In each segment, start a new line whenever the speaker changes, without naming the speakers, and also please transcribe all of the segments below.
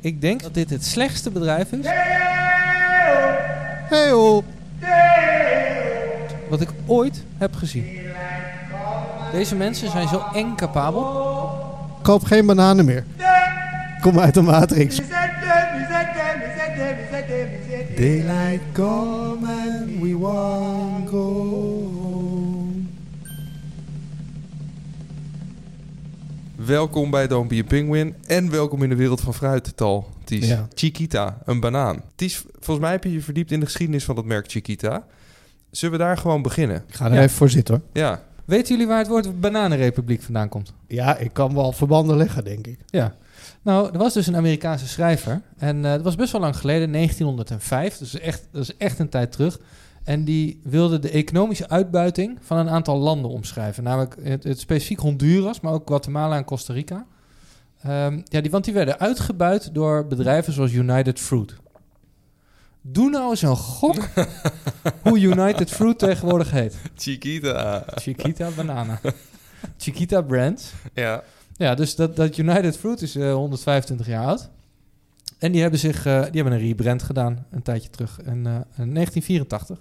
Ik denk dat dit het slechtste bedrijf is
Hey joh.
wat ik ooit heb gezien. Deze mensen zijn zo eng capabel.
Koop geen bananen meer. Kom uit de Matrix. Daylight come and we won't go home.
Welkom bij Don't Be a Penguin en welkom in de wereld van fruit, Tal. Ties.
Ja.
Chiquita, een banaan. Ties, volgens mij heb je je verdiept in de geschiedenis van dat merk Chiquita. Zullen we daar gewoon beginnen?
Ik ga er
Ja.
even voor zitten hoor.
Ja,
Weten jullie waar het woord bananenrepubliek vandaan komt?
Ja, ik kan wel verbanden leggen, denk ik.
Ja. Nou, er was dus een Amerikaanse schrijver. En eh, dat was best wel lang geleden, 1905. Dus echt, dat is echt een tijd terug. En die wilde de economische uitbuiting van een aantal landen omschrijven. Namelijk het, het specifiek Honduras, maar ook Guatemala en Costa Rica. Ehm, ja, die, want die werden uitgebuit door bedrijven zoals United Fruit. Doe nou eens een gok hoe United Fruit tegenwoordig heet.
Chiquita.
Chiquita Banana. Chiquita Brands.
Ja,
Ja, dus dat, dat United Fruit is eh, 125 jaar oud. En die hebben, zich, eh, die hebben een rebrand gedaan een tijdje terug. In, eh, in 1984.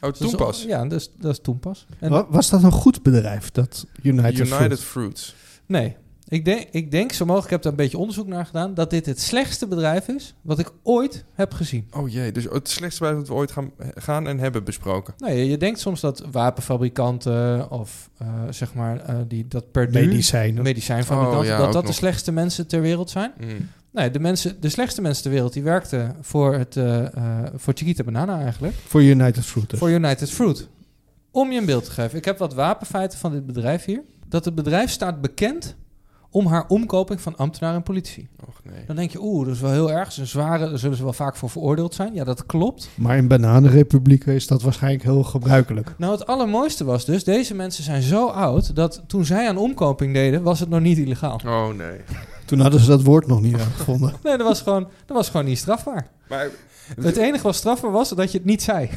oh,
Dus
toen
dat is-
pas.
Ja, dus, dat is toen pas. En,
Wa- Was dat een goed bedrijf, dat United,
United,
Fruit?
Fruits.
Nee, ik denk, ik denk zo mogelijk, ik heb daar een beetje onderzoek naar gedaan... dat dit het slechtste bedrijf is wat ik ooit heb gezien.
Oh jee, dus het slechtste bedrijf dat we ooit gaan, gaan en hebben besproken.
Nou, je, je denkt soms dat wapenfabrikanten of eh, zeg maar eh, die, dat per
Medicijnen.
medicijnfabrikanten...
Oh, ja,
dat
ook
dat de
nog.
slechtste mensen ter wereld zijn.
Mm.
Nee, de, mensen, de slechtste mensen ter wereld die werkten voor, het, eh, eh, voor Chiquita Banana eigenlijk.
Voor United Fruit dus.
Voor United Fruit. Om je een beeld te geven. Ik heb wat wapenfeiten van dit bedrijf hier. Dat het bedrijf staat bekend om haar omkoping van ambtenaren en politici.
Och nee.
Dan denk je, oeh, dat is wel heel erg. Dat is een zware, daar zullen ze wel vaak voor veroordeeld zijn. Ja, dat klopt.
Maar in bananenrepublieken is dat waarschijnlijk heel gebruikelijk.
Nou, het allermooiste was dus, deze mensen zijn zo oud... dat toen zij aan omkoping deden, was het nog niet illegaal.
Oh nee.
Toen hadden ze dat woord nog niet uitgevonden.
Nee, dat was gewoon, dat was gewoon niet strafbaar.
Maar
Het enige wat strafbaar was, dat je het niet zei.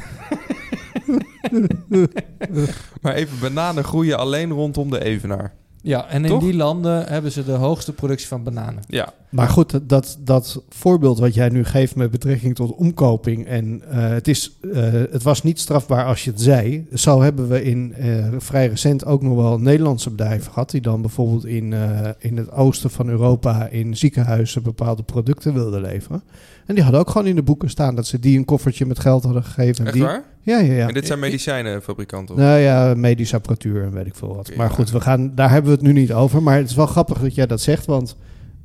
Maar even, bananen groeien alleen rondom de Evenaar.
Ja, en
Toch?
in die landen hebben ze de hoogste productie van bananen.
Ja.
Maar goed, dat, dat voorbeeld wat jij nu geeft met betrekking tot omkoping. En eh, het, is, eh, het was niet strafbaar als je het zei. Zo hebben we in eh, vrij recent ook nog wel Nederlandse bedrijven gehad. Die dan bijvoorbeeld in, eh, in het oosten van Europa in ziekenhuizen bepaalde producten wilden leveren. En die hadden ook gewoon in de boeken staan dat ze die een koffertje met geld hadden gegeven. En
Echt
die,
waar?
Ja, ja, ja.
En dit zijn medicijnenfabrikanten. of-
Nou ja, medische apparatuur en weet ik veel wat.
Oké,
maar
ja.
goed, we gaan, daar hebben we het nu niet over. Maar het is wel grappig dat jij dat zegt, want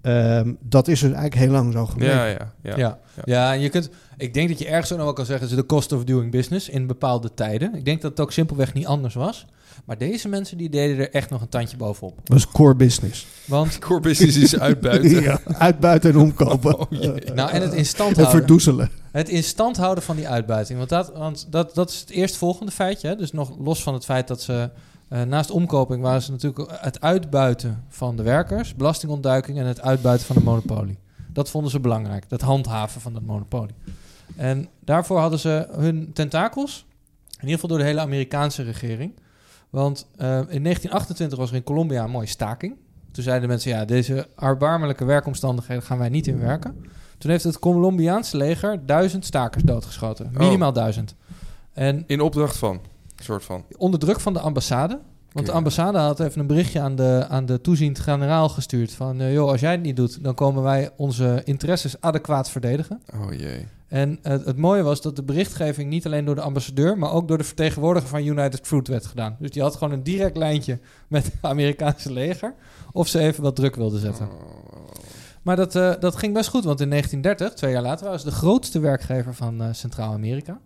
ehm, dat is dus eigenlijk heel lang zo geweest.
Ja, ja, ja.
Ja, ja. en je kunt, ik denk dat je ergens ook nog wel kan zeggen... ze de cost of doing business in bepaalde tijden. Ik denk dat het ook simpelweg niet anders was. Maar deze mensen die deden er echt nog een tandje bovenop.
Dat is core business.
Want,
Core business is uitbuiten.
ja, uitbuiten en omkopen.
Oh, jee.
nou, en het in stand
en
houden.
verdoezelen.
Het in stand houden van die uitbuiting. Want dat, want dat, dat is het eerstvolgende feitje. Hè? Dus nog los van het feit dat ze... eh, naast omkoping waren ze natuurlijk het uitbuiten van de werkers... belastingontduiking en het uitbuiten van de monopolie. Dat vonden ze belangrijk, dat handhaven van dat monopolie. En daarvoor hadden ze hun tentakels, in ieder geval door de hele Amerikaanse regering. Want eh, in 1928 was er in Colombia een mooie staking. Toen zeiden mensen, ja, deze erbarmelijke werkomstandigheden gaan wij niet in werken. Toen heeft het Colombiaanse leger duizend stakers doodgeschoten.
Oh.
Minimaal duizend. En
In opdracht van, soort van.
onder druk van de ambassade. Want de
Ja.
ambassade had even een berichtje aan de, aan de toeziend generaal gestuurd. Van, eh, joh, als jij het niet doet, dan komen wij onze interesses adequaat verdedigen.
Oh jee.
En het, het mooie was dat de berichtgeving niet alleen door de ambassadeur, maar ook door de vertegenwoordiger van United Fruit werd gedaan. Dus die had gewoon een direct lijntje met het Amerikaanse leger. Of ze even wat druk wilden zetten.
Oh,
Maar dat, eh, dat ging best goed, want in 1930, twee jaar later, waren ze de grootste werkgever van eh, Centraal-Amerika.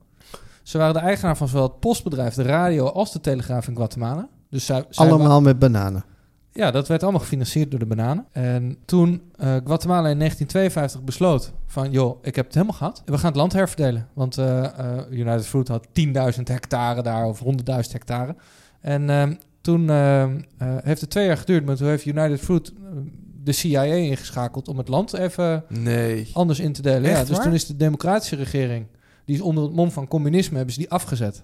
Ze waren de eigenaar van zowel het postbedrijf, de radio als de telegraaf in Guatemala. Dus zij, zij wa-
Allemaal met bananen.
ja, dat werd allemaal gefinancierd door de bananen. En toen eh, Guatemala in 1952 besloot van... joh, ik heb het helemaal gehad. We gaan het land herverdelen. Want eh, eh, United Fruit had 10.000 hectare daar of 100.000 hectare. En ehm, toen ehm, eh, heeft het twee jaar geduurd... maar toen heeft United Fruit eh, de CIA ingeschakeld... om het land even
Nee.
anders in te delen.
Echt
ja, dus
waar?
Oh.
toen is de democratische regering... die is onder het mom van communisme, hebben ze die afgezet.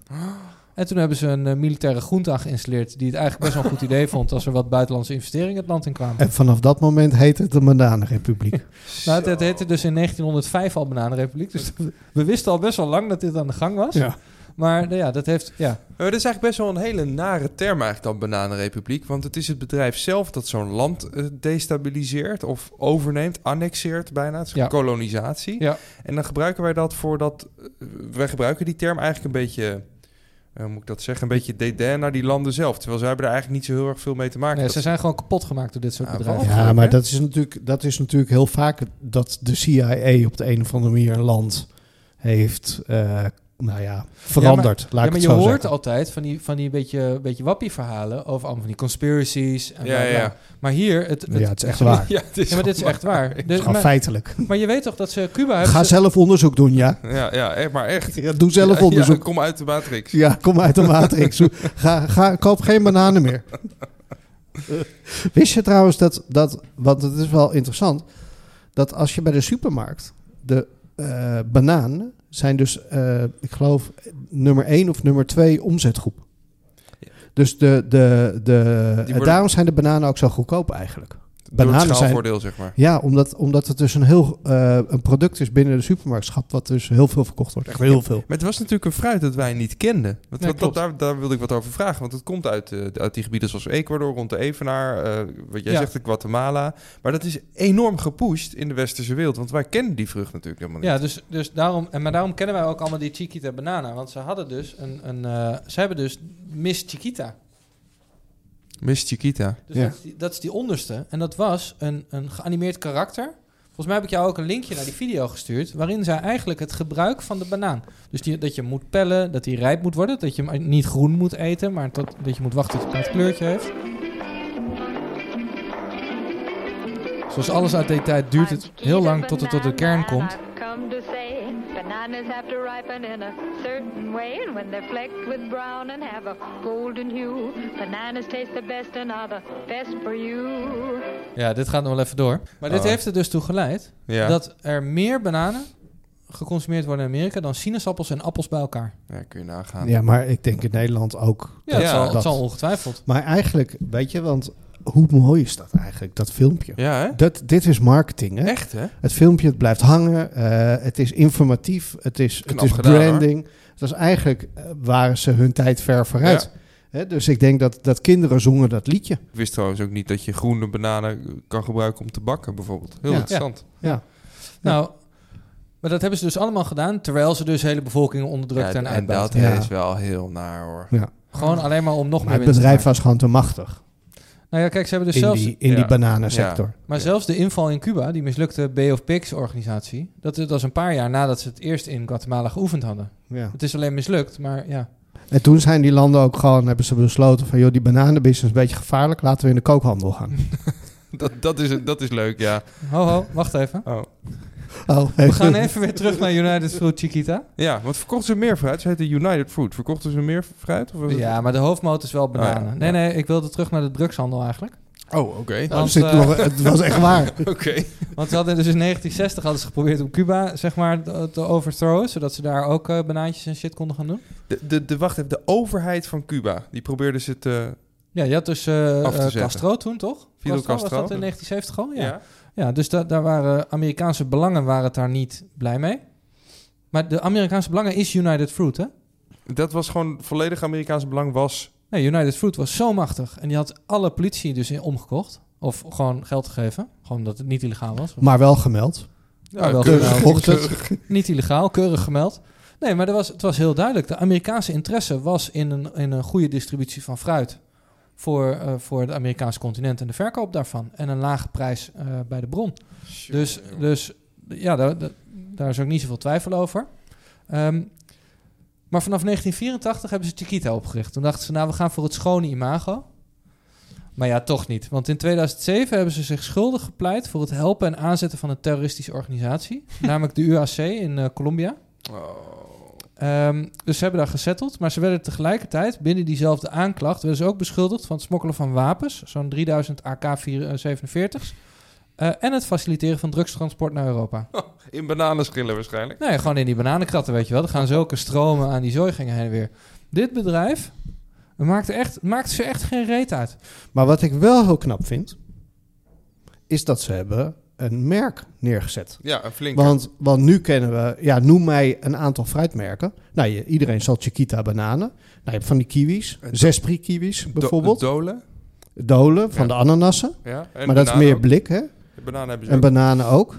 En toen hebben ze een eh, militaire groente geïnstalleerd... die het eigenlijk best wel een goed idee vond... als er wat buitenlandse investeringen het land in kwamen.
En vanaf dat moment heet het de Bananenrepubliek.
Nou, het heette dus in 1905 al Bananenrepubliek. Dus we wisten al best wel lang dat dit aan de gang was.
ja.
Maar nou ja, dat heeft... Ja,
Eh, dat is eigenlijk best wel een hele nare term eigenlijk dan bananenrepubliek. Want het is het bedrijf zelf dat zo'n land eh, destabiliseert of overneemt, annexeert bijna. Het is
Ja.
kolonisatie.
Ja.
En dan gebruiken wij dat voor dat... eh, wij gebruiken die term eigenlijk een beetje... eh, hoe moet ik dat zeggen? Een beetje dédain naar die landen zelf. Terwijl zij hebben er eigenlijk niet zo heel erg veel mee te maken.
nee,
Dat- Ah,
ze zijn gewoon kapot gemaakt door dit soort
Ja,
bedrijven.
waarom?
Ja, maar dat is, natuurlijk, dat is natuurlijk heel vaak dat de CIA op de een of andere manier een land heeft eh, nou ja, veranderd. laat
Ja,
ik
maar
het
je
zo
hoort
zeggen.
altijd van die, van die beetje, beetje wappie verhalen over allemaal van die conspiracies. En
ja,
bla,
ja,
bla.
ja.
Maar hier, het, het-
Ja, het is echt waar.
Ja, het is
ja, maar dit is echt waar. Dus,
Gewoon
maar,
feitelijk.
maar je weet toch dat ze Cuba hebben.
Ga
ze-
zelf onderzoek doen, ja.
Ja, ja, echt, maar echt.
ja doe zelf
Ja,
onderzoek.
Ja, kom uit de matrix.
Ja, kom uit de matrix. Ga, ga, koop geen bananen meer. Wist je trouwens dat, dat, want het is wel interessant, dat als je bij de supermarkt de eh bananen zijn dus, eh, ik geloof, nummer 1 of nummer 2 omzetgroep.
Ja.
Dus de, de, de,
Die worden-
daarom zijn de bananen ook zo goedkoop eigenlijk.
Door het
Bananen zijn-
schaalvoordeel, zeg maar.
Ja, omdat, omdat het dus een heel eh, een product is binnen de supermarktschap, wat dus heel veel verkocht wordt. Echt heel veel.
Maar het was natuurlijk een fruit dat wij niet kenden. Want
Nee,
wat-
klopt.
daar, daar wilde ik wat over vragen. Want het komt uit, eh, uit die gebieden zoals Ecuador, rond de Evenaar. eh, wat jij
Ja.
zegt, de Guatemala. Maar dat is enorm gepusht in de westerse wereld. Want wij kennen die vrucht natuurlijk helemaal niet.
Ja, dus, dus daarom, en maar daarom kennen wij ook allemaal die Chiquita Banana. Want ze hadden dus een. een eh, ze hebben dus Miss Chiquita.
Miss Chiquita.
Dus
Ja.
dat, is die, dat is die onderste. En dat was een, een geanimeerd karakter. Volgens mij heb ik jou ook een linkje naar die video gestuurd. Waarin zij eigenlijk het gebruik van de banaan. Dus die, dat je hem moet pellen, dat hij rijp moet worden. Dat je hem niet groen moet eten, maar dat, dat je moet wachten tot hij het kleurtje heeft. Zoals alles uit die tijd duurt het heel lang tot het tot de kern komt. Ja, dit gaat nog wel even door. Maar dit
Oh.
heeft er dus toe geleid
Ja.
dat er meer bananen geconsumeerd worden in Amerika dan sinaasappels en appels bij elkaar.
ja, kun je nagaan.
Ja, maar ik denk in Nederland ook.
Ja, dat,
Ja,
zal, dat
dat-
zal ongetwijfeld.
Maar eigenlijk, weet je, want hoe mooi is dat eigenlijk, dat filmpje?
Ja, hè?
Dat, dit is marketing, hè?
Echt, hè?
Het filmpje, het blijft hangen. eh, het is informatief. Het is, het
Knap
is
gedaan, hoor.
branding. Dat is eigenlijk, eh, waren ze hun tijd ver vooruit.
Ja.
Hè, dus ik denk dat, dat kinderen zongen dat liedje.
Ik wist trouwens ook niet dat je groene bananen eh, kan gebruiken om te bakken, bijvoorbeeld. Heel
Ja.
interessant.
Ja.
Nou, maar dat hebben ze dus allemaal gedaan, terwijl ze dus hele bevolkingen onderdrukt en
en, en
uitbuiten.
dat
Ja.
is wel heel naar, hoor.
Gewoon alleen maar om nog
Maar
meer
het
winst te
bedrijf
maken.
was gewoon te machtig
Nou ja, kijk, ze hebben dus
in
zelfs...
die, in
ja.
die bananensector.
Maar
Ja.
zelfs de inval in Cuba, die mislukte Bay of Pigs organisatie... Dat, dat was een paar jaar nadat ze het eerst in Guatemala geoefend hadden.
Ja.
Het is alleen mislukt, maar ja.
En toen zijn die landen ook gewoon, hebben ze besloten van... joh, die bananenbusiness is een beetje gevaarlijk. Laten we in de kookhandel gaan.
Dat, dat, is, dat is leuk, ja.
Ho, ho, wacht even.
Oh.
Oh,
We gaan even weer terug naar United Fruit Chiquita.
Ja, want verkochten ze meer fruit? Ze heette United Fruit. Verkochten ze meer fruit? Of was het-
Ja, maar de hoofdmoot is wel bananen.
Oh ja,
Nee,
ja.
nee, ik wilde terug naar de drugshandel eigenlijk.
Oh, oké.
Nou, er
Want,
zit
eh,
nog- het was echt waar.
Oké.
Want ze hadden dus in 1960 hadden ze geprobeerd om Cuba zeg maar te- te overthrowen, zodat ze daar ook eh, banaantjes en shit konden gaan doen.
De, de, de, wacht even, de overheid van Cuba, die probeerde ze te...
Ja, je had dus eh,
Af te
eh,
zetten.
Castro toen toch?
Fidel
was
Castro.
dat in 1970
Oh,
al? Ja.
Ja.
Ja. dus da- daar waren Amerikaanse belangen waren het daar niet blij mee. Maar de Amerikaanse belangen is United Fruit, hè?
Dat was gewoon volledig Amerikaanse belang was...
Nee, United Fruit was zo machtig en die had alle politie dus in omgekocht of gewoon geld gegeven, gewoon omdat het niet illegaal was.
Maar wel gemeld.
Ja,
Ah,
wel
Keurig
gedaan.
gekocht het.
Niet illegaal, keurig gemeld. Nee, maar er was, het was heel duidelijk. De Amerikaanse interesse was in een, in een goede distributie van fruit voor, eh, voor het Amerikaanse continent en de verkoop daarvan. En een lage prijs eh, bij de bron. Dus, dus ja, daar, daar- daar is ook niet zoveel twijfel over. Ehm, maar vanaf 1984 hebben ze Chiquita opgericht. Toen dachten ze, nou, we gaan voor het schone imago. Maar ja, toch niet. Want in 2007 hebben ze zich schuldig gepleit voor het helpen en aanzetten van een terroristische organisatie. namelijk de UAC in eh, Colombia.
Oh.
Ehm, dus ze hebben daar gezetteld. Maar ze werden tegelijkertijd binnen diezelfde aanklacht... werden ze ook beschuldigd van het smokkelen van wapens. Zo'n 3000 AK-47's. eh, en het faciliteren van drugstransport naar Europa.
Oh.
Nou
In bananenschillen waarschijnlijk.
Nee, gewoon in die bananenkratten, weet je wel. Er gaan zulke stromen aan die zooi gingen heen en weer. Dit bedrijf maakt, echt, maakt ze echt geen reet uit.
Maar wat ik wel heel knap vind, is dat ze hebben een merk neergezet.
Ja, een flinke.
Want, want nu kennen we, ja, noem mij een aantal fruitmerken. Nou, je, iedereen zal Chiquita bananen. Nou, je hebt van die kiwis,
Eh, do-
Zespri kiwis
Do-
bijvoorbeeld.
Dolen.
Dolen van
Ja.
de ananassen.
Ja, en
maar dat is
bananen
meer
ook.
blik, hè?
Bananen hebben ze
En
ook.
bananen ook.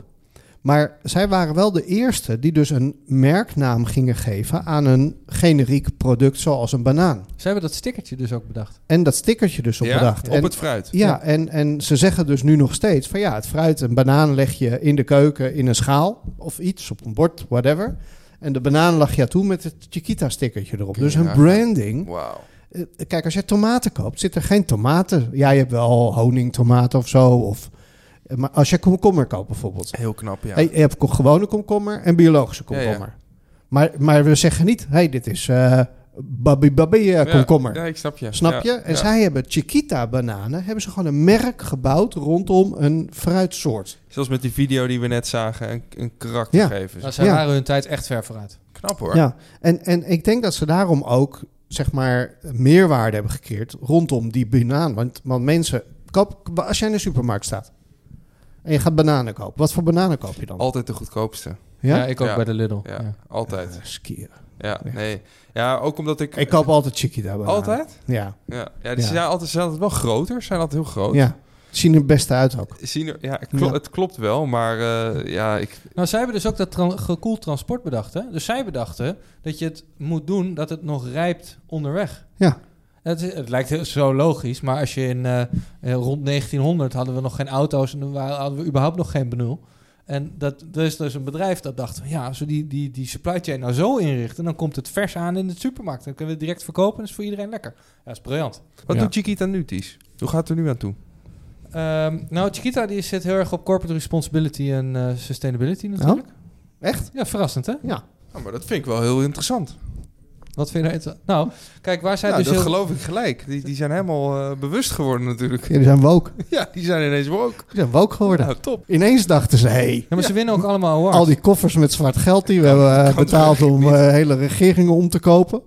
Maar zij waren wel de eerste die dus een merknaam gingen geven aan een generiek product zoals een banaan.
Ze hebben dat stickertje dus ook bedacht.
En dat stickertje dus op
Ja,
bedacht.
Op
En-
het fruit.
Ja, en, en ze zeggen dus nu nog steeds van ja, het fruit, een banaan leg je in de keuken in een schaal of iets op een bord, whatever. En de banaan lag je toe met het Chiquita-stickertje erop. Dus hun
Ja.
branding.
Wauw.
eh, Kijk, als je tomaten koopt, zit er geen tomaten. Ja, je hebt wel honingtomaten of zo. Of, eh, maar als je komkommer koopt bijvoorbeeld.
Heel knap, ja.
Hey, je hebt ko- gewone komkommer en biologische komkommer.
Ja,
Maar, maar we zeggen niet, hey, dit is eh babi babi eh,
Ja,
komkommer.
Ja, ik snap je. Ja,
Snap je? En
ja.
zij hebben Chiquita-bananen, hebben ze gewoon een merk gebouwd rondom een fruitsoort.
Zoals met die video die we net zagen, een, een karakter
Ja.
geven.
Nou,
Dus
zij
Ja.
waren hun tijd echt ver vooruit.
knap hoor.
Ja, en, en ik denk dat ze daarom ook, zeg maar, meerwaarde hebben gecreëerd rondom die banaan. Want, want mensen, koop, als jij in de supermarkt staat en je gaat bananen kopen, wat voor bananen koop je dan?
Altijd de goedkoopste.
Ja,
ja?
ik ook
Ja.
bij de Lidl.
Ja,
Ja.
altijd.
Eh, skier.
Ja,
echt.
nee. Ja, ook omdat ik...
Ik koop altijd Chiquita-bananen.
Altijd?
Ja,
Ja, ja die
Ja.
Zijn, altijd, zijn altijd wel groter, zijn altijd heel groot.
ja. Zien er best uit ook.
Zien er, ja, klo-
Ja.
het klopt wel, maar eh, ja, ik,
Nou, zij hebben dus ook dat tran- gekoeld transport bedacht. Hè? Dus zij bedachten dat je het moet doen dat het nog rijpt onderweg.
Ja.
Het, is- het lijkt heel- zo logisch, maar als je in eh, eh, rond 1900 hadden we nog geen auto's en dan wa- hadden we überhaupt nog geen benul. En dat, er is dus een bedrijf dat dacht, ja, als we die, die, die supply chain nou zo inrichten, dan komt het vers aan in de supermarkt. Dan kunnen we het direct verkopen en is voor iedereen lekker. Ja, dat is briljant.
Wat
Ja.
doet Chiquita nu, Ties? Hoe gaat het er nu aan toe?
Ehm, nou, Chiquita die zit heel erg op corporate responsibility en eh, sustainability
Oh.
natuurlijk.
Oh? Echt?
Ja, verrassend hè?
Ja.
Nou, maar dat vind ik wel heel interessant.
Wat vind je daar interessant? Nou, kijk, waar zij
Ja,
dus
dat
heel-
geloof ik gelijk. Die, die zijn helemaal eh, bewust geworden natuurlijk.
Jullie zijn woke.
Ja, die zijn ineens woke.
Jullie zijn woke geworden.
Nou, top.
Ineens dachten ze, hey,
Ja, maar ze winnen ook allemaal awards.
Al die koffers met zwart geld die we hebben eh,
kan
betaald
toch
om
niet?
eh, hele regeringen om te kopen.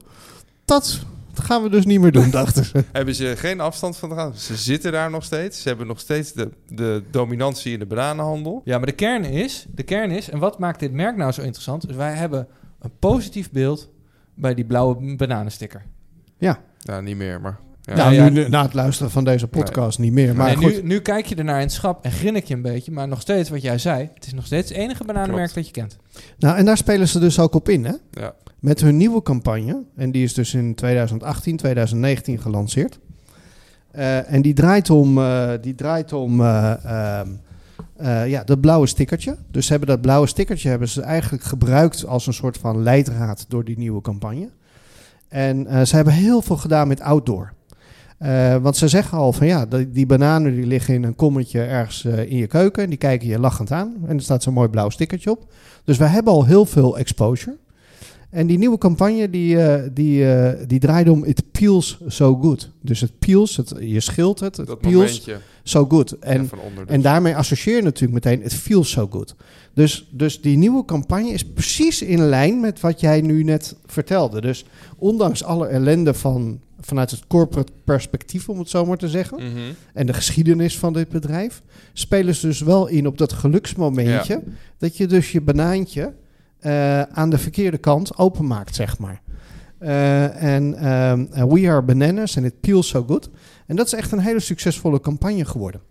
Dat gaan we dus niet meer doen, dachten ze.
Hebben ze geen afstand van gedaan. Ze zitten daar nog steeds. Ze hebben nog steeds de, de dominantie in de bananenhandel.
Ja, maar de kern is, de kern is, en wat maakt dit merk nou zo interessant? Dus wij hebben een positief beeld bij die blauwe bananensticker.
Ja, Nou, niet meer, maar... Ja.
nou,
ja.
nu, nu- na het luisteren van deze podcast niet meer. Maar
en
goed,
nu, nu kijk je ernaar in het schap en grinnik je een beetje, maar nog steeds wat jij zei, het is nog steeds het enige bananenmerk
Klopt.
dat je kent.
nou, en daar spelen ze dus ook op in, hè?
Ja.
Met hun nieuwe campagne, en die is dus in 2018, 2019 gelanceerd. Eh, en die draait om, eh, die draait om eh, ehm, eh, ja, dat blauwe stickertje. Dus ze hebben dat blauwe stickertje hebben ze eigenlijk gebruikt als een soort van leidraad door die nieuwe campagne. En eh, ze hebben heel veel gedaan met outdoor. Eh, want ze zeggen al van ja, die, die bananen die liggen in een kommetje ergens eh, in je keuken. En die kijken je lachend aan. En er staat zo'n mooi blauw stickertje op. Dus we hebben al heel veel exposure. En die nieuwe campagne die, eh, die, eh, die draaide om It Peels So Good. Dus het peels, het, je schilt het, het
dat
peels
momentje
so good. En
ja, van onder.
en daarmee associeer je natuurlijk meteen het feels so good. Dus, dus die nieuwe campagne is precies in lijn met wat jij nu net vertelde. Dus ondanks alle ellende van, vanuit het corporate perspectief, om het zo maar te zeggen,
Mhm.
en de geschiedenis van dit bedrijf, spelen ze dus wel in op dat geluksmomentje dat je dus je banaantje eh, aan de verkeerde kant openmaakt, zeg maar. Eh, En ehm, eh, We Are Bananas en It Peels So Good. En dat is echt een hele succesvolle campagne geworden.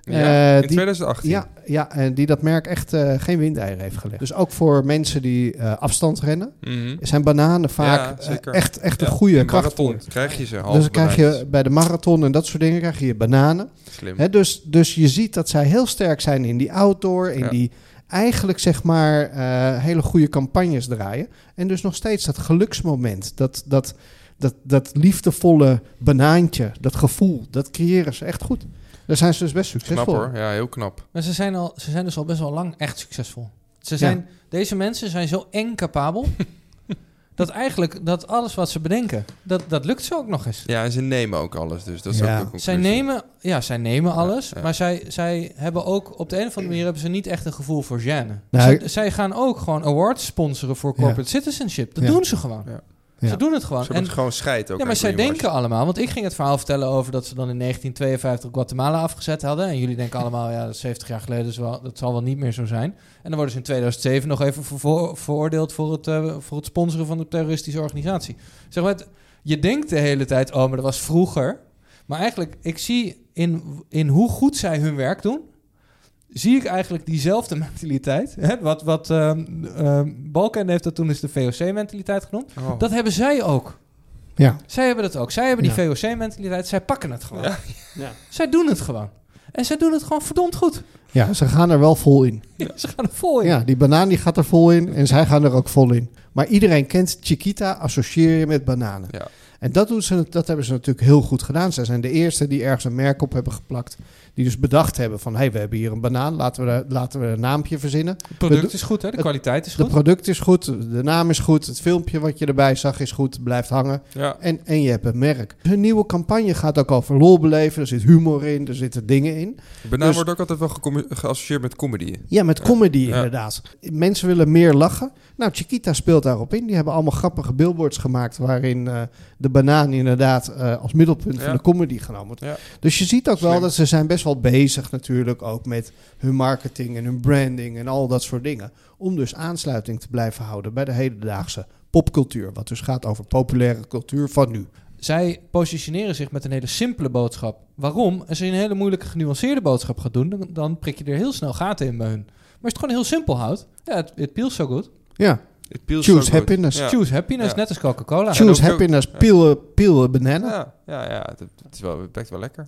Ja,
Eh,
in
die-
2018.
Ja, ja, en die dat merk echt eh, geen windeieren heeft gelegd. Dus ook voor mensen die eh, afstand rennen,
Mhm.
zijn bananen
Ja,
vaak eh,
zeker.
echt, echt
Ja,
een goede
Een
kracht.
marathon krijg je ze. halve
Dus dan krijg
banaantjes.
je bij de marathon en dat soort dingen krijg je je bananen.
Slim.
Hè, dus, dus je ziet dat zij heel sterk zijn in die outdoor, in
Ja.
die eigenlijk zeg maar eh, hele goede campagnes draaien. En dus nog steeds dat geluksmoment, dat, dat, dat, dat liefdevolle banaantje, dat gevoel, dat creëren ze echt goed. Daar zijn ze dus best
knap
succesvol.
hoor. Ja, heel knap.
Maar ze zijn, al, ze zijn dus al best wel lang echt succesvol. Ze zijn, Deze mensen zijn zo eng capabel, dat eigenlijk dat alles wat ze bedenken, dat, dat lukt ze ook nog eens.
Ja, en ze nemen ook alles. Dus dat is
Ja.
ook de conclusie.
Zij nemen, ja, zij nemen alles,
Ja, ja.
maar zij, zij hebben ook op de een of andere manier hebben ze niet echt een gevoel voor gêne.
Nou,
zij,
ik-
zij gaan ook gewoon awards sponsoren voor corporate citizenship. Dat
Ja.
doen ze gewoon.
Ja.
Ja.
Ze doen het gewoon.
Ze
En-
hebben gewoon scheid ook.
ja, maar
aan
zij
greenwashing.
denken allemaal, want ik ging het verhaal vertellen over dat ze dan in 1952 Guatemala afgezet hadden. En jullie denken allemaal, ja, dat is 70 jaar geleden, dus wel, dat zal wel niet meer zo zijn. En dan worden ze in 2007 nog even vervo- veroordeeld voor het, eh, voor het sponsoren van een terroristische organisatie. Zeg maar, het- je denkt de hele tijd, oh, maar dat was vroeger. Maar eigenlijk, ik zie in, in hoe goed zij hun werk doen, zie ik eigenlijk diezelfde mentaliteit. Hè? Wat, wat ehm ehm, Balkan heeft dat toen is de VOC-mentaliteit genoemd.
Oh.
Dat hebben zij ook.
Ja.
Zij hebben dat ook. Zij hebben die VOC-mentaliteit. Zij pakken het gewoon.
Ja.
Zij doen het gewoon. En zij doen het gewoon verdomd goed.
ja, ze gaan er wel vol in.
Ze gaan er vol in.
Ja, die banaan die gaat er vol in en zij gaan er ook vol in. Maar iedereen kent Chiquita, associeer je met bananen.
Ja.
En dat, doen ze, dat hebben ze natuurlijk heel goed gedaan. Zij zijn de eerste die ergens een merk op hebben geplakt. Die dus bedacht hebben van, hé, hey, we hebben hier een banaan, laten we, daar- laten we een naampje verzinnen.
Het
We
product
do-
is goed, hè? De
het-
kwaliteit is
De
goed.
product is goed, de naam is goed, het filmpje wat je erbij zag is goed, blijft hangen.
Ja.
En, en je hebt een merk. Hun nieuwe campagne gaat ook over lol beleven, er zit humor in, er zitten dingen in.
Banaan
Dus-
wordt ook altijd wel gecommu- geassocieerd met comedy.
Ja, met comedy
Ja.
inderdaad. Mensen willen meer lachen. Nou, Chiquita speelt daarop in. Die hebben allemaal grappige billboards gemaakt... waarin eh, de banaan inderdaad eh, als middelpunt
Ja.
van de comedy genomen wordt.
Ja.
Dus je ziet ook wel
Slim.
dat ze zijn best wel bezig natuurlijk... ook met hun marketing en hun branding en al dat soort dingen. Om dus aansluiting te blijven houden bij de hedendaagse popcultuur. Wat dus gaat over populaire cultuur van nu.
Zij positioneren zich met een hele simpele boodschap. Waarom? Als je een hele moeilijke, genuanceerde boodschap gaat doen, dan, dan prik je er heel snel gaten in bij hun. Maar als je het gewoon heel simpel houdt, ja, het it feels so good.
Ja,
It peels
Choose
so good.
happiness.
Ja.
Choose happiness,
Ja.
net als Coca-Cola.
en
choose
ook-
happiness,
ja.
peel, a- peel a banana.
Ja, ja, ja. Het, het is wel, het werkt wel lekker.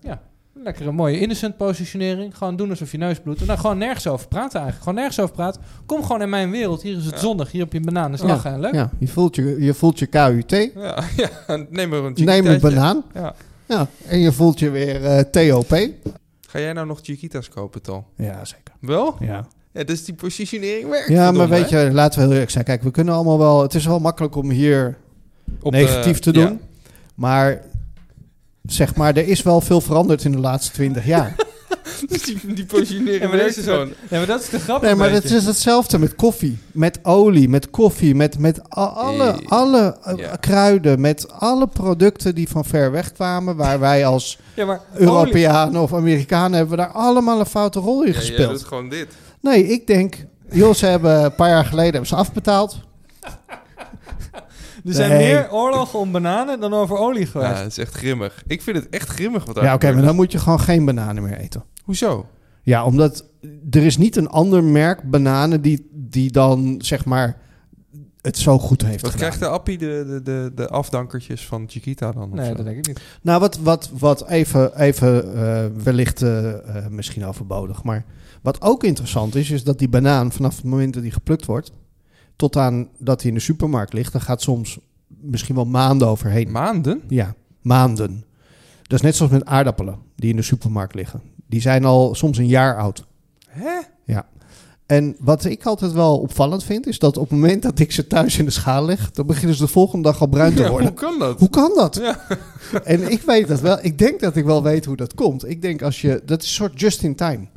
Lekkere mooie innocent positionering. Gewoon doen alsof je neus bloedt. En dan gewoon nergens over praten eigenlijk. Gewoon nergens over praten. Kom gewoon in mijn wereld. Hier is het
Ja.
zondag. Hier heb je bananen. Is
Ja.
lachen en leuk.
Ja, je voelt je, je, voelt je KUT...
Ja, ja. Neem er
Neem een
een chiquitaatje.
banaan.
Ja.
Ja, en je voelt je weer eh, TOP.
Ga jij nou nog Chiquita's kopen, Tal?
Ja, zeker.
Wel?
Ja,
Ja, dus die positionering werkt.
ja maar
verdomme,
weet
hè?
je, laten we heel eerlijk zijn. Kijk, we kunnen allemaal wel... Het is wel makkelijk om hier
Op de-
negatief te
ja.
doen. Maar zeg maar, er is wel veel veranderd in de laatste twintig jaar.
Dus die, die positionering
Ja, maar
werkt
deze
gewoon.
Ja, maar dat is de grap.
Nee,
een
maar
beetje.
het is hetzelfde met koffie. Met olie, met koffie, met, met a- alle,
Eh,
alle eh,
ja.
kruiden. Met alle producten die van ver weg kwamen. Waar wij als
Ja, maar olie-
Europeanen of Amerikanen... hebben we daar allemaal een foute rol in
Ja, ja, dat
gespeeld.
is gewoon dit.
Nee, ik denk... Joh, ze hebben een paar jaar geleden hebben ze afbetaald.
Er zijn
Nee.
meer oorlogen om bananen dan over olie geweest.
Ja, dat is echt grimmig. Ik vind het echt grimmig wat daar
Ja, oké,
gebeurt.
maar dan moet je gewoon geen bananen meer eten.
Hoezo?
Ja, omdat er is niet een ander merk bananen die, die dan, zeg maar, het zo goed heeft
Wat
gedaan.
krijgt de appie de, de, de, de afdankertjes van Chiquita dan? of
nee,
zo?
dat denk ik niet.
Nou, wat, wat, wat even, even eh, wellicht eh, eh, misschien overbodig. Maar wat ook interessant is, is dat die banaan vanaf het moment dat die geplukt wordt... tot aan dat hij in de supermarkt ligt, daar gaat soms misschien wel maanden overheen.
Maanden?
Ja, maanden. Dat is net zoals met aardappelen die in de supermarkt liggen. Die zijn al soms een jaar oud.
Hè?
En wat ik altijd wel opvallend vind, is dat op het moment dat ik ze thuis in de schaal leg, dan beginnen ze de volgende dag al bruin te
Ja,
worden.
hoe kan dat?
Hoe kan dat?
Ja.
En ik weet dat wel. Ik denk dat ik wel weet hoe dat komt. Ik denk als je. Dat is een soort just in time.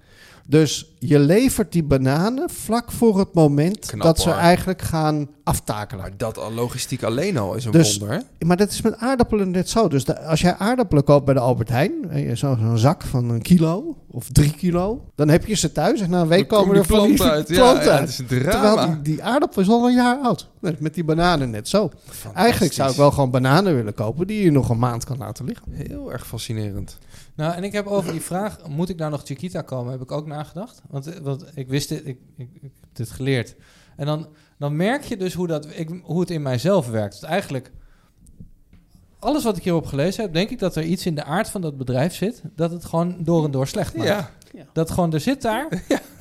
Dus je levert die bananen vlak voor het moment
Knap,
dat ze
hoor.
eigenlijk gaan aftakelen.
Maar dat al logistiek alleen al is een
Dus-
wonder. hè?
Maar dat is met aardappelen net zo. Dus de- als jij aardappelen koopt bij de Albert Heijn, eh, zo- zo'n zak van een kilo of drie kilo, dan heb je ze thuis en na een week
Dan
komen
komen
er van die
planten
planten
uit. Ja, ja, het
uit.
is een
Terwijl die,
drama.
die aardappel is al een jaar oud. Net Met die bananen net zo. Eigenlijk zou ik wel gewoon bananen willen kopen die je nog een maand kan laten liggen.
Heel erg fascinerend.
Nou, en ik heb over die vraag, moet ik nou nog Chiquita komen, heb ik ook nagedacht. Want, eh, want ik wist dit, ik, ik, ik heb dit geleerd. En dan, dan merk je dus hoe, dat, ik, hoe het in mijzelf werkt. Dus eigenlijk, alles wat ik hierop gelezen heb, denk ik dat er iets in de aard van dat bedrijf zit, dat het gewoon door en door slecht maakt.
Ja.
Dat gewoon, er zit daar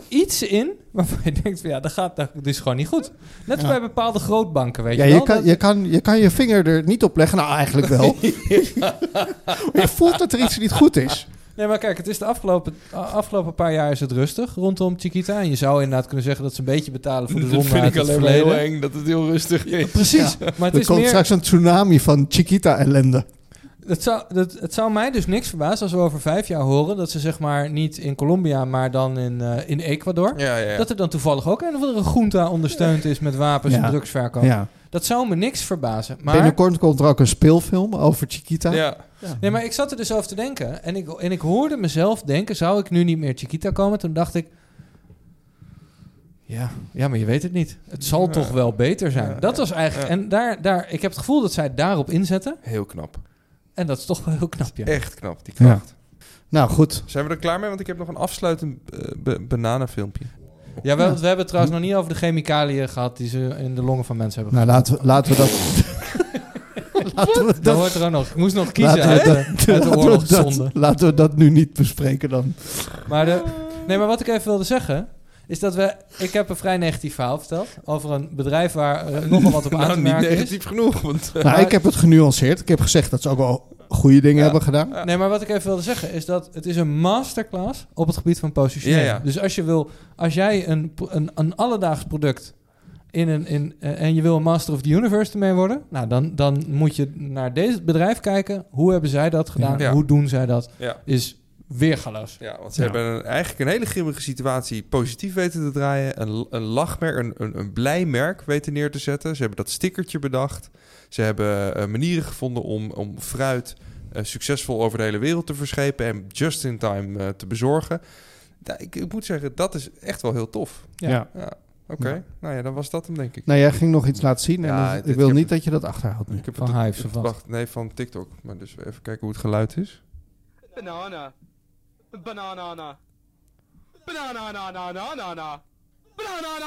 iets in waarvan je denkt, van, ja, dat gaat, dat is gewoon niet goed. Net als
Ja.
bij bepaalde grootbanken, weet
Ja,
je wel.
je kan,
dat-
je, kan, je kan je vinger er niet op leggen. Nou, eigenlijk wel. Maar je voelt dat er iets niet goed is.
Nee, maar kijk, het is de afgelopen, a- afgelopen paar jaar is het rustig rondom Chiquita. En je zou inderdaad kunnen zeggen dat ze een beetje betalen voor de
dat
zonde
vind
uit
ik
het
alleen maar heel
verleden.
eng dat het heel rustig is.
Precies, maar het
Er
is
komt
meer...
straks een tsunami van Chiquita-ellende.
Het zou, dat, het zou mij dus niks verbazen als we over vijf jaar horen... dat ze zeg maar niet in Colombia, maar dan in, eh, in Ecuador...
Ja, ja, ja.
dat er dan toevallig ook een of andere junta ondersteund is met wapens
Ja.
en drugsverkoop.
Ja.
Dat zou me niks verbazen. Maar,
Binnenkort komt er ook een speelfilm over Chiquita.
Ja.
nee, maar ik zat er dus over te denken. En ik, en ik hoorde mezelf denken, zou ik nu niet meer Chiquita komen? Toen dacht ik... Ja, ja, maar je weet het niet. Het zal
Ja.
toch wel beter zijn.
Ja,
dat
ja,
was eigenlijk...
ja.
En daar, daar, ik heb het gevoel dat zij daarop inzetten.
Heel knap.
En dat is toch wel heel knap, ja.
Echt knap, die kracht.
Nou goed,
Zijn we er klaar mee? Want ik heb nog een afsluitend eh, be- bananenfilmpje.
Ja, we,
Ja.
we hebben het trouwens nog niet over de chemicaliën gehad... die ze in de longen van mensen hebben.
nou, laten, we, laten we dat... laten we
dat
dat...
hoort er ook nog. Ik moest nog kiezen uit,
laten,
de-
we
uit
dat,
de
laten we
oorlogszonde.
dat, laten we dat nu niet bespreken dan.
Maar de, nee, maar wat ik even wilde zeggen. Is dat we. Ik heb een vrij negatief verhaal verteld. Over een bedrijf waar eh, nogal wat op aan
nou,
te
niet
merken is.
negatief genoeg, want... eh,
Nou, ik heb het genuanceerd. Ik heb gezegd dat ze ook wel goede dingen
Ja.
hebben gedaan.
Nee, maar wat ik even wilde zeggen is dat het is een masterclass op het gebied van positioneren.
Ja, ja.
Dus als je wil, als jij een, pro- een, een alledaags product in een in, eh, en je wil een master of the universe ermee worden, nou dan, dan moet je naar deze bedrijf kijken. Hoe hebben zij dat gedaan?
Ja.
Hoe doen zij dat?
Ja.
Is weergaloos.
Ja, want ze
Ja.
hebben een- eigenlijk een hele grimmige situatie positief weten te draaien. Een, een lachmerk, een, een, een blij merk weten neer te zetten. Ze hebben dat stickertje bedacht. Ze hebben eh, manieren gevonden om, om fruit eh, succesvol over de hele wereld te verschepen en just in time eh, te bezorgen. Ja, ik, ik moet zeggen, dat is echt wel heel tof.
Ja.
Ja, oké.
Ja.
Nou ja, dan was dat hem, denk ik.
Nou, jij ging nog iets laten zien. En dat-
Ja, dit-
ik wil
ik heb-
niet dat je dat achterhoudt nu.
Ik heb
Van
het-
Hives of wat?
Wacht, nee, van TikTok. Maar dus even kijken hoe het geluid is.
Banana. Banana. Banana. Banana. Banana.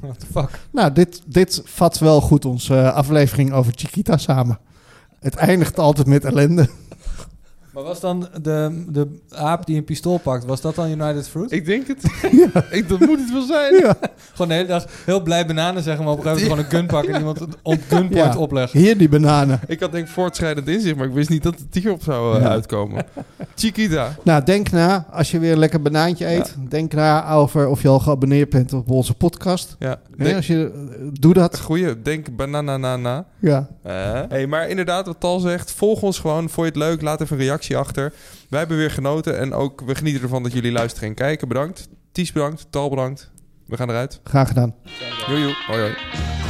What the fuck?
Nou, dit, dit vat wel goed onze eh, aflevering over Chiquita samen. Het eindigt altijd met ellende.
Maar was dan de, de aap die een pistool pakt, was dat dan United Fruit?
Ik denk het. ik, dat moet het wel zijn.
Gewoon de hele dag heel blij bananen zeggen, maar op een gegeven moment gewoon een gun pakken en iemand het op gunpoint
Ja.
opleggen.
Hier die bananen.
Ik had denk ik voortschrijdend inzicht, maar ik wist niet dat het hierop zou eh,
Ja.
uitkomen. Chiquita.
Nou, denk na, als je weer een lekker banaantje eet, denk na over of je al geabonneerd bent op onze podcast.
Ja.
Hè,
Denk,
als je, eh, doe dat.
goeie, denk bananana.
Ja.
Hey, maar inderdaad, wat Tal zegt, volg ons gewoon. Vond je het leuk? Laat even een reactie achter. Wij hebben weer genoten en ook we genieten ervan dat jullie luisteren en kijken. Bedankt. Ties bedankt. Tal bedankt. We gaan eruit.
Graag gedaan.
Joe, joe. Hoi, hoi.